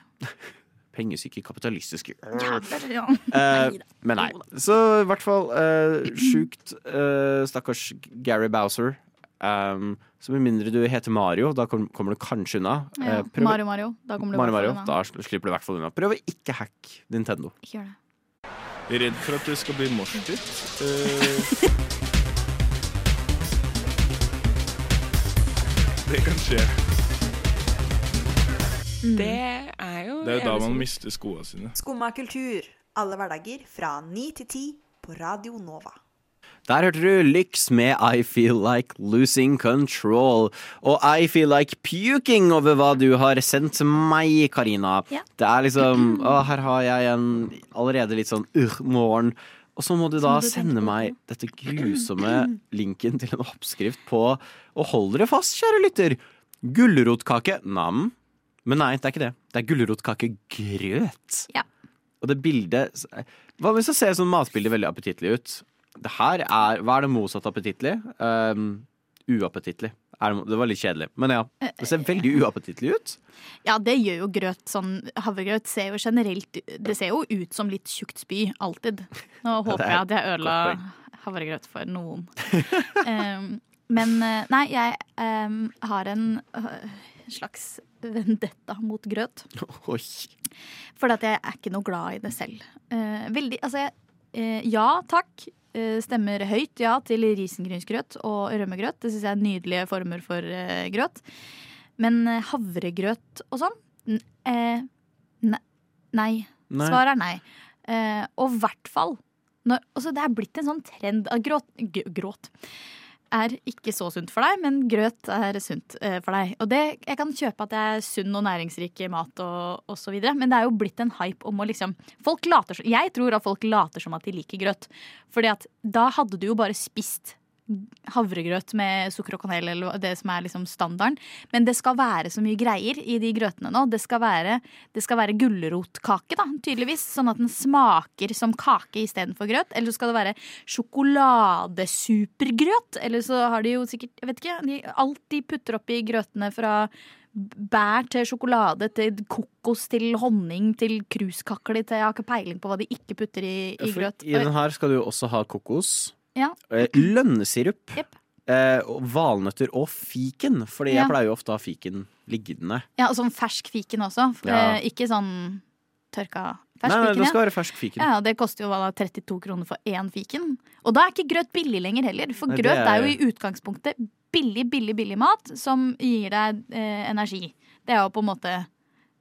Speaker 3: Pengesyke, kapitalistiske
Speaker 6: Jævler, ja.
Speaker 3: Eh, men nei. Så i hvert fall eh, sjukt. eh, stakkars Gary Bowser. Um, så med mindre du heter Mario, da kom, kommer du kanskje unna. Eh,
Speaker 6: Ja.
Speaker 3: prøv-
Speaker 6: Mario Mario. Da kommer du i
Speaker 3: Mario,
Speaker 6: hvert fall
Speaker 3: Mario,
Speaker 6: unna.
Speaker 3: da slipper du i hvert fall unna. Prøv å ikke hacke Nintendo.
Speaker 6: Ikke gjør det.
Speaker 5: Redd for at det skal bli morsdytt. det kan skje.
Speaker 15: Det er jo
Speaker 5: Det er jo da
Speaker 15: jævlig
Speaker 5: man
Speaker 15: skummelt.
Speaker 5: mister skoa sine.
Speaker 16: Skumma kultur. Alle hverdager fra 9 til 10 på Radio Nova.
Speaker 3: Der hørte du Lyx med I Feel Like Losing Control. Og I Feel Like Puking over hva du har sendt meg, Karina.
Speaker 6: Ja.
Speaker 3: Det er liksom Å, her har jeg en allerede litt sånn uh, morgen. Og så må du da
Speaker 6: må du tenke
Speaker 3: sende meg dette grusomme linken til en oppskrift på Og hold dere fast, kjære lytter! Gulrotkake. Nam. Men nei, det er ikke det. Det er gulrotkakegrøt.
Speaker 6: Ja.
Speaker 3: Og det bildet Hva hvis det ser sånn matbilde veldig appetittlig ut? Det her er Hva er det motsatte av appetittlig? Um, uappetittlig. Er det, det var litt kjedelig. Men ja.
Speaker 6: Eh,
Speaker 3: Det ser veldig uappetittlig ut.
Speaker 6: Ja, det gjør jo grøt sånn. Havregrøt ser jo generelt Det ser jo ut som litt tjukt spy, alltid. Nå håper jeg at jeg ødela
Speaker 13: godt
Speaker 6: havregrøt for noen. Em, men eh, nei, jeg em, har en øh, slags vendetta mot grøt.
Speaker 3: Oi.
Speaker 6: Fordi at jeg er ikke noe glad i det selv. Eh, veldig, altså jeg, eh, Ja takk. eh, stemmer høyt ja til risengrynsgrøt og rømmegrøt. Det syns jeg er nydelige former for eh, grøt. Men eh, havregrøt og sånn? N eh, ne nei.
Speaker 13: Nei.
Speaker 6: Svaret er nei. Eh, og i hvert fall når altså Det er blitt en sånn trend av gråt, g- gråt. er ikke så sunt for deg, men grøt er sunt eh, for deg. Og det, jeg kan kjøpe at det er sunn og næringsrik mat og, og så videre, men det er jo blitt en hype om å liksom folk later, som- Jeg tror at folk later som at de liker grøt. Fordi at da hadde du jo bare spist havregrøt med sukker og kanel, eller hva- det som er liksom standarden. Men det skal være så mye greier i de grøtene nå. Det skal være, det skal være gulrotkake, da, tydeligvis. Sånn at den smaker som kake istedenfor grøt. Eller så skal det være sjokoladesupergrøt. Eller så har de jo sikkert Jeg vet ikke. De, alt de putter oppi grøtene fra bær til sjokolade til kokos til honning til kruskakler til Jeg har ikke peiling på hva de ikke putter i, i
Speaker 3: For
Speaker 6: grøt.
Speaker 3: I den her skal du jo også ha kokos,
Speaker 6: Ja.
Speaker 3: eh, lønnesirup,
Speaker 6: Jep.
Speaker 3: eh, og valnøtter og fiken. Fordi
Speaker 6: Ja.
Speaker 3: jeg pleier jo ofte å ha fiken liggende.
Speaker 6: Ja, og sånn fersk fiken også. For
Speaker 3: Ja.
Speaker 6: det er Ikke sånn tørka
Speaker 3: Nei,
Speaker 6: fersk
Speaker 3: nei,
Speaker 6: fiken.
Speaker 3: det skal
Speaker 6: ja.
Speaker 3: være fersk fiken.
Speaker 6: Ja, og Det koster jo hva da, 32 kroner for én fiken. Og da er ikke grøt billig lenger heller. For
Speaker 3: Nei, det
Speaker 6: grøt er...
Speaker 3: er-
Speaker 6: jo i utgangspunktet billig, billig, billig mat som gir deg eh, energi. Det er jo på en måte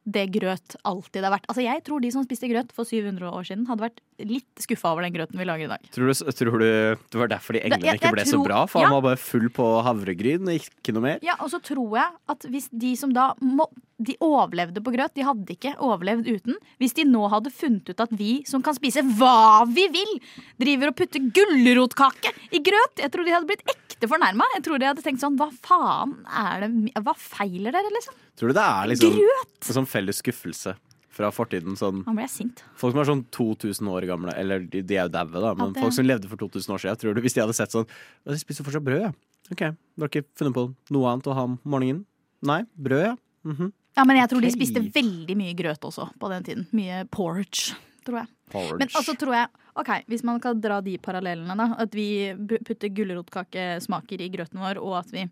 Speaker 6: det grøt alltid har vært. Altså Jeg tror de som spiste grøt for 700 år siden, hadde vært litt skuffa over den grøten vi lager i dag.
Speaker 3: Tror du, tror du det var derfor de
Speaker 6: Det-
Speaker 3: englene
Speaker 6: jeg-
Speaker 3: ikke
Speaker 6: jeg
Speaker 3: ble
Speaker 6: tror-
Speaker 3: så bra? For
Speaker 6: ja.
Speaker 3: han var bare full på havregryn, ikke noe mer?
Speaker 6: Ja, og så tror jeg at hvis de som da må, De overlevde på grøt, de hadde ikke overlevd uten. Hvis de nå hadde funnet ut at vi som kan spise hva vi vil, driver og putter gulrotkake i grøt, jeg tror de hadde blitt ekte fornærma. Jeg tror de hadde tenkt sånn Hva faen er det Hva feiler dere, liksom?
Speaker 3: Tror du det er liksom
Speaker 6: Grøt!
Speaker 3: en sånn felles skuffelse fra fortiden? Sånn,
Speaker 6: Nå ble jeg sint.
Speaker 3: folk som er sånn 2000 år gamle, eller de, de er jo daue, da, men
Speaker 6: det-
Speaker 3: folk som levde for 2000 år siden, tror du hvis de hadde sett sånn «Å, De spiser fortsatt brød, ja. OK, du har ikke funnet på noe annet å ha om morgenen? Nei, brød, ja. Mhm.
Speaker 6: Ja, men jeg tror de
Speaker 3: Ok.
Speaker 6: spiste veldig mye grøt også på den tiden. Mye porridge, tror jeg.
Speaker 3: Porridge.
Speaker 6: Men altså tror jeg Ok, Hvis man kan dra de parallellene, da. At vi bu- putter gulrotkakesmaker i grøten vår, og at vi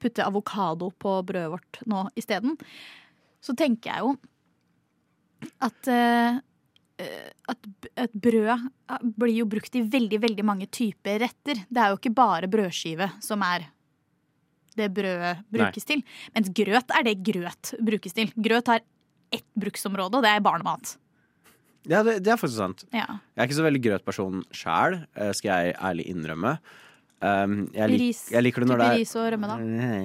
Speaker 6: putter avokado på brødet vårt nå isteden. Så tenker jeg jo at eh, eh, at, b- at brød eh, blir jo brukt i veldig veldig mange typer retter. Det er jo ikke bare brødskive som er det brødet brukes til. Mens grøt er det grøt brukes til. Grøt har ett bruksområde, og det er barnemat.
Speaker 3: Ja, det, det er faktisk sant.
Speaker 6: Ja.
Speaker 3: Jeg er ikke så veldig grøtperson sjæl, eh, skal jeg ærlig innrømme. Um, jeg, lik,
Speaker 6: Ris.
Speaker 3: jeg liker det når det
Speaker 6: Type
Speaker 3: er
Speaker 6: ris og rømme, da?
Speaker 3: Nei,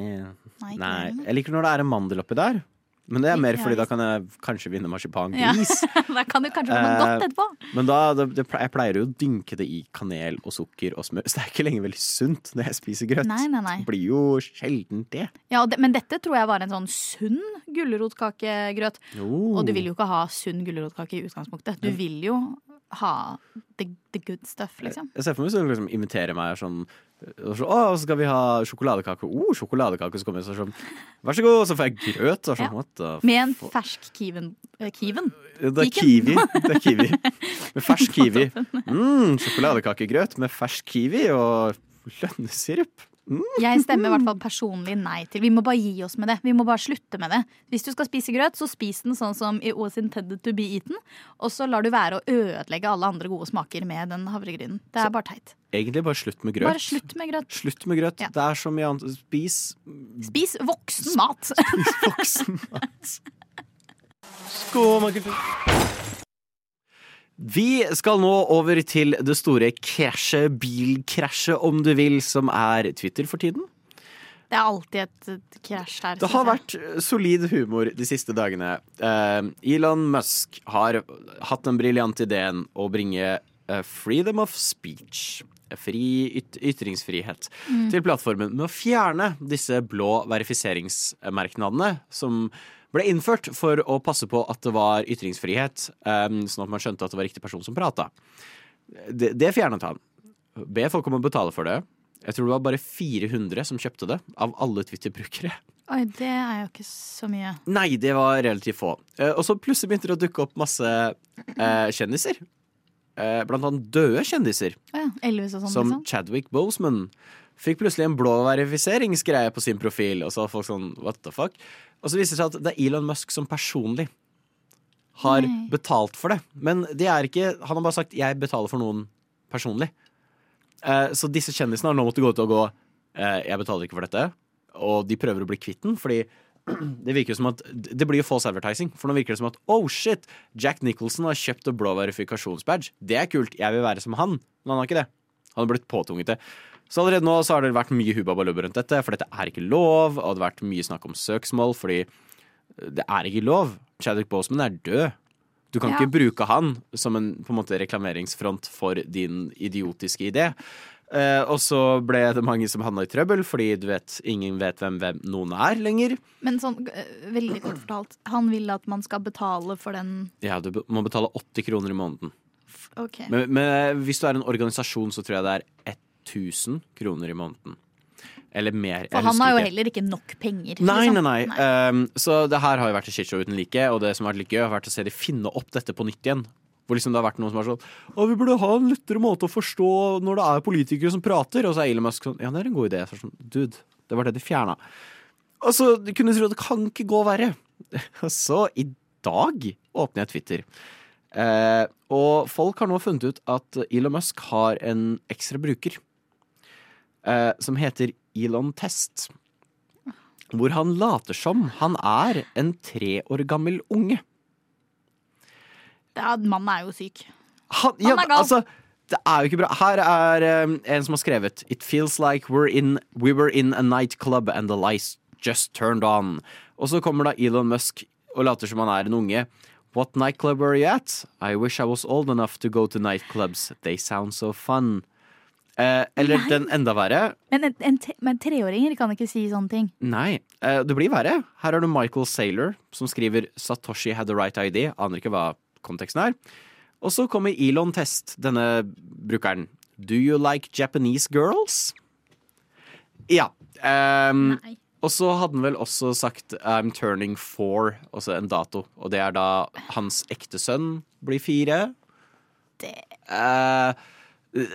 Speaker 6: ikke
Speaker 3: Nei. Jeg liker når det er en mandel oppi der. Men det er mer
Speaker 6: Ja,
Speaker 3: fordi da
Speaker 6: visst.
Speaker 3: kan jeg kanskje vinne marsipangris.
Speaker 6: altså. Ja. Da kan du kanskje få noe godt
Speaker 3: Eh,
Speaker 6: etterpå.
Speaker 3: Men da, det, det, jeg pleier jo å dynke det i kanel og sukker og smør. Så det er ikke lenger veldig sunt når jeg spiser grøt.
Speaker 6: Nei, nei, nei.
Speaker 3: Det blir jo sjelden det.
Speaker 6: Ja, og det, men dette tror jeg var en sånn sunn gulrotkakegrøt.
Speaker 3: Jo.
Speaker 6: Og du vil jo ikke ha sunn gulrotkake i utgangspunktet. Du vil jo ha the, the good stuff, liksom.
Speaker 3: Jeg ser for meg hvis du liksom inviterer meg sånn og så, å, så skal vi ha sjokoladekake. Oh, sjokoladekake. Så kommer jeg sånn Vær så god, så får jeg grøt. Og sånn,
Speaker 6: Ja.
Speaker 3: what the
Speaker 6: Med en fersk kiven. eh, kiven.
Speaker 3: Det er
Speaker 6: Kiken.
Speaker 3: kiwi. Det er kiwi. Med fersk kiwi. Mm, sjokoladekakegrøt med fersk kiwi og lønnesirup.
Speaker 6: Jeg stemmer i hvert fall personlig nei til. Vi må bare gi oss med det. Vi må bare slutte med det. Hvis du skal spise grøt, så spis den sånn som it was intended to be eaten. Og så lar du være å ødelegge alle andre gode smaker med den havregrynen. Det er bare teit.
Speaker 3: Egentlig bare slutt med grøt.
Speaker 6: Bare slutt med grøt.
Speaker 3: Slutt med grøt. Det er så mye annet. Spis
Speaker 6: Spis voksen mat.
Speaker 3: voksen mat. Skomakultur. Vi skal nå over til det store krasjet, bilkrasjet om du vil, som er Twitter for tiden.
Speaker 6: Det er alltid et et krasj her.
Speaker 3: Det
Speaker 6: synes
Speaker 3: har
Speaker 6: jeg.
Speaker 3: vært eh, solid humor de siste dagene. Eh, Elon Musk har hatt den briljante ideen å bringe eh, freedom of speech, fri yt ytringsfrihet,
Speaker 13: Mm.
Speaker 3: til plattformen med å fjerne disse blå verifiseringsmerknadene som ble innført for å passe på at det var ytringsfrihet, eh, sånn at man skjønte at det var riktig person som prata. Det, det fjernet han. Be folk om å betale for det. Jeg tror det var bare 400 som kjøpte det, av alle Twitter-brukere.
Speaker 6: Oi, det er jo ikke så mye.
Speaker 3: Nei, det var relativt få. Eh, og så plutselig begynte det å dukke opp masse eh, kjendiser. Eh, blant annet døde kjendiser,
Speaker 6: Å ja, Elvis og sånn,
Speaker 3: som
Speaker 6: liksom.
Speaker 3: Chadwick Boseman. Fikk plutselig en blå verifiseringsgreie på sin profil, og så var folk sånn what the fuck? Og så viser det seg at det er Elon Musk som personlig har
Speaker 13: Nei.
Speaker 3: betalt for det. Men det er ikke Han har bare sagt 'jeg betaler for noen personlig'. Eh, så disse kjendisene har nå måttet gå ut og gå eh, 'jeg betaler ikke for dette', og de prøver å bli kvitt den, fordi det virker jo som at Det blir jo false advertising. For nå virker det som at oh shit, Jack Nicholson har kjøpt en blå verifikasjonsbadge. Det er kult. Jeg vil være som han. Men han har ikke det. Han har blitt påtunget det. Så allerede nå så har det vært mye hubabalubb rundt dette, for dette er ikke lov. Og det har vært mye snakk om søksmål, fordi det er ikke lov. Chadwick Boseman er død. Du kan
Speaker 6: Ja.
Speaker 3: ikke bruke han som en, på en måte, reklameringsfront for din idiotiske idé. Eh, og så ble det mange som havna i trøbbel, fordi du vet, ingen vet hvem, hvem noen er lenger.
Speaker 6: Men sånn, eh, veldig kort fortalt, han vil at man skal betale for den
Speaker 3: Ja, du be- må betale 80 kroner i måneden.
Speaker 6: OK.
Speaker 3: Men, men hvis du er en organisasjon, så tror jeg det er 1000 kroner i måneden. Eller mer. jeg
Speaker 6: For han
Speaker 3: husker
Speaker 6: har jo
Speaker 3: ikke.
Speaker 6: heller ikke nok penger.
Speaker 3: Nei, nei,
Speaker 6: liksom.
Speaker 3: nei. Ehm, så det her har jo vært et shitshow uten like, og det som har vært litt gøy, har vært å se de finne opp dette på nytt igjen. Hvor liksom det har vært noen som har sånn Å, vi burde ha en lettere måte å forstå når det er politikere som prater. Og så er Elon Musk sånn Ja, det er en god idé. Så er det sånn, Dude, det var det de fjerna. Altså, du kunne tro at det kan ikke gå verre. Så i dag åpner jeg Twitter. Eh, og folk har nå funnet ut at Elon Musk har en ekstra bruker eh, som heter Elon Test hvor han later som han er en tre år gammel unge.
Speaker 6: Ja, Mannen er jo syk.
Speaker 3: Han, ja, altså, det er jo ikke bra. Her er um, en som har skrevet It feels like we're in, we were in a nightclub and the lights just turned on. Og så kommer da Elon Musk og later som han er en unge. What nightclub were you at? I wish I was old enough to go to nightclubs. They sound so fun. Eh, eller
Speaker 6: Nei.
Speaker 3: den enda verre.
Speaker 6: Men, en, en te men treåringer kan ikke si sånne ting.
Speaker 3: Nei, eh, det blir verre. Her har du Michael Saylor som skriver 'Satoshi had the right idea'. Aner ikke hva konteksten er. Og så kommer Elon Test, denne brukeren. 'Do you like Japanese girls?' Ja. ehm, og så hadde han vel også sagt 'I'm turning four', altså en dato. Og det er da hans ekte sønn blir fire. Eh,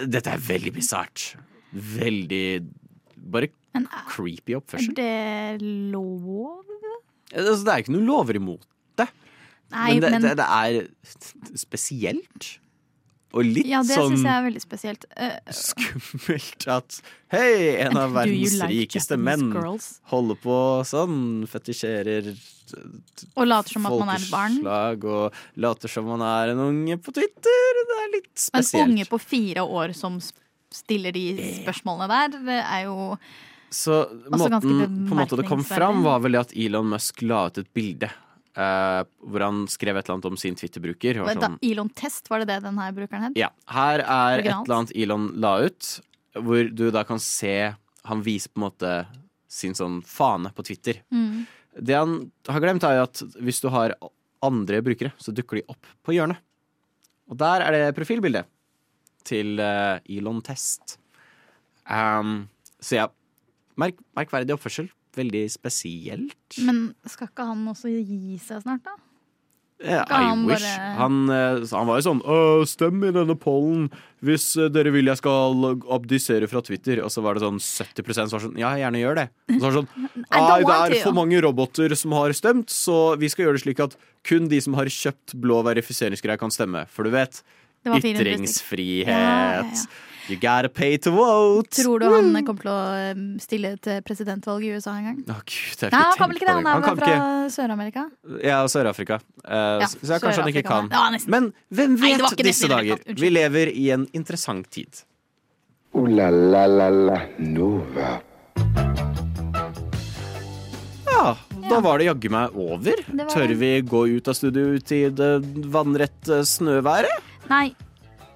Speaker 3: dette er veldig bisart. Veldig bare creepy oppførsel.
Speaker 6: Er det lov?
Speaker 3: Altså, det er ikke noen lover imot det.
Speaker 6: Nei,
Speaker 3: men det,
Speaker 6: men-
Speaker 3: det, det er spesielt. Og litt
Speaker 6: Ja, det
Speaker 3: sånn
Speaker 6: syns jeg er veldig spesielt. Eh,
Speaker 3: skummelt at Hei, en av
Speaker 6: Do
Speaker 3: verdens
Speaker 6: you like
Speaker 3: rikeste
Speaker 6: Japanese
Speaker 3: menn
Speaker 6: girls?
Speaker 3: holder på sånn, fetisjerer eh,
Speaker 6: Og later som at man er et barn.
Speaker 3: folkeslag, Og later som man er en unge på Twitter. Det er litt
Speaker 6: en
Speaker 3: spesielt.
Speaker 6: unge på fire år som sp- stiller de spørsmålene der, det er jo
Speaker 3: Så
Speaker 6: Også ganske
Speaker 3: måten, på en måte det kom
Speaker 6: bemerkningsverdig.
Speaker 3: fram, var vel det at Elon Musk la ut et bilde eh, hvor han skrev et eller annet om sin Twitter-bruker. og var
Speaker 6: Men da,
Speaker 3: sånn,
Speaker 6: Elon Test, var det det den her brukeren het?
Speaker 3: Ja, her er et
Speaker 6: Originalt.
Speaker 3: eller annet Elon la ut, hvor du da kan se Han viser på en måte sin sånn fane på Twitter.
Speaker 6: Mm.
Speaker 3: Det han har glemt, er jo at hvis du har andre brukere, så dukker de opp på hjørnet. Og der er det profilbildet til eh, Elon Test. Um, så ja, merk, merkverdig oppførsel. Veldig spesielt.
Speaker 6: Men skal ikke han også gi seg snart, da?
Speaker 3: Ja,
Speaker 6: Skal han
Speaker 3: I wish.
Speaker 6: bare-
Speaker 3: Han, eh, så han var jo sånn «Åh, Stem i denne pollen hvis eh, dere vil jeg skal abdisere fra Twitter. Og så var det sånn 70 som var sånn Ja, gjerne gjør det. Og så var det sånn
Speaker 6: I don't
Speaker 3: Nei, det
Speaker 6: want
Speaker 3: er
Speaker 6: to.»
Speaker 3: for mange roboter som har stemt, så vi skal gjøre det slik at kun de som har kjøpt blå verifiseringsgreier, kan stemme. For du vet,
Speaker 6: Det var 400
Speaker 3: ytringsfrihet.
Speaker 6: Ja, ja, ja.
Speaker 3: You gotta pay to vote.
Speaker 6: Tror du han kommer til å eh, stille til presidentvalg i USA en gang?
Speaker 3: Å, Gud, Mm. jeg har ikke
Speaker 6: Nei, han kan
Speaker 3: tenkt
Speaker 6: vel
Speaker 3: på
Speaker 6: ikke det?
Speaker 3: det.
Speaker 6: Han er
Speaker 3: kan
Speaker 6: vel fra
Speaker 3: ikke-
Speaker 6: Sør-Amerika?
Speaker 3: Ja, Sør-Afrika. Eh,
Speaker 6: Ja,
Speaker 3: så så kanskje han ikke
Speaker 6: Sør-Afrika
Speaker 3: kan.
Speaker 6: var- Ja, nesten.
Speaker 3: Men hvem
Speaker 6: Nei, det
Speaker 3: vet
Speaker 6: var ikke
Speaker 3: disse
Speaker 6: nesten i det hele
Speaker 3: dager?
Speaker 6: tatt. Unnskyld.
Speaker 3: Vi lever i en interessant tid.
Speaker 2: Ooh la la la la Nova.
Speaker 3: Ja, da var det jaggu meg over.
Speaker 6: var
Speaker 3: Tør
Speaker 6: det.
Speaker 3: vi gå ut av studio ut i det vannrette snøværet?
Speaker 6: Nei,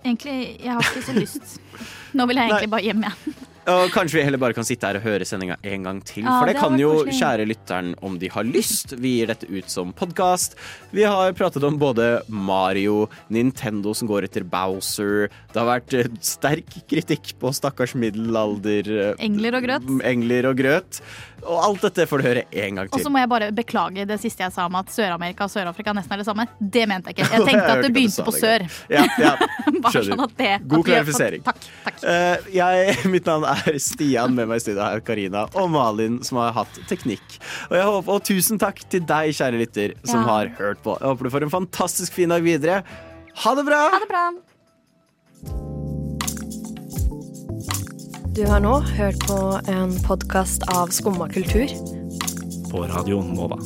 Speaker 6: egentlig, jeg har ikke så lyst. Nå vil jeg egentlig bare hjem igjen.
Speaker 3: Og kanskje vi heller bare kan sitte her og høre sendinga en gang til.
Speaker 6: Ja,
Speaker 3: for det,
Speaker 6: det hadde
Speaker 3: kan
Speaker 6: vært
Speaker 3: jo
Speaker 6: koselig.
Speaker 3: kjære lytteren om de har lyst. Vi gir dette ut som podkast. Vi har pratet om både Mario, Nintendo som går etter Bowser. Det har vært eh, sterk kritikk på stakkars middelalder... eh,
Speaker 6: Engler og grøt.
Speaker 3: Engler og grøt. Og alt dette får du høre en gang
Speaker 6: Og så
Speaker 3: til.
Speaker 6: må jeg bare beklage det siste jeg sa om at Sør-Amerika og Sør-Afrika nesten er det samme. Det mente jeg ikke. Jeg
Speaker 3: hørte
Speaker 6: tenkte at det
Speaker 3: du
Speaker 6: begynte
Speaker 3: sa
Speaker 6: på
Speaker 3: det,
Speaker 6: sør.
Speaker 3: Ja, ja.
Speaker 6: Bare
Speaker 3: Skjønner.
Speaker 6: sånn at det
Speaker 3: God
Speaker 6: at vi-
Speaker 3: klarifisering.
Speaker 6: Takk. takk.
Speaker 3: Eh, jeg, mitt navn er Stian, med meg i studio er Karina og Malin, som har hatt teknikk. Og, jeg håper, og tusen takk til deg, kjære lytter, som
Speaker 6: Ja.
Speaker 3: har hørt på. Jeg håper du får en fantastisk fin dag videre. Ha det bra!
Speaker 6: Ha det bra.
Speaker 13: Du har nå hørt på en podkast av Skumma kultur.
Speaker 14: På radioen Nova.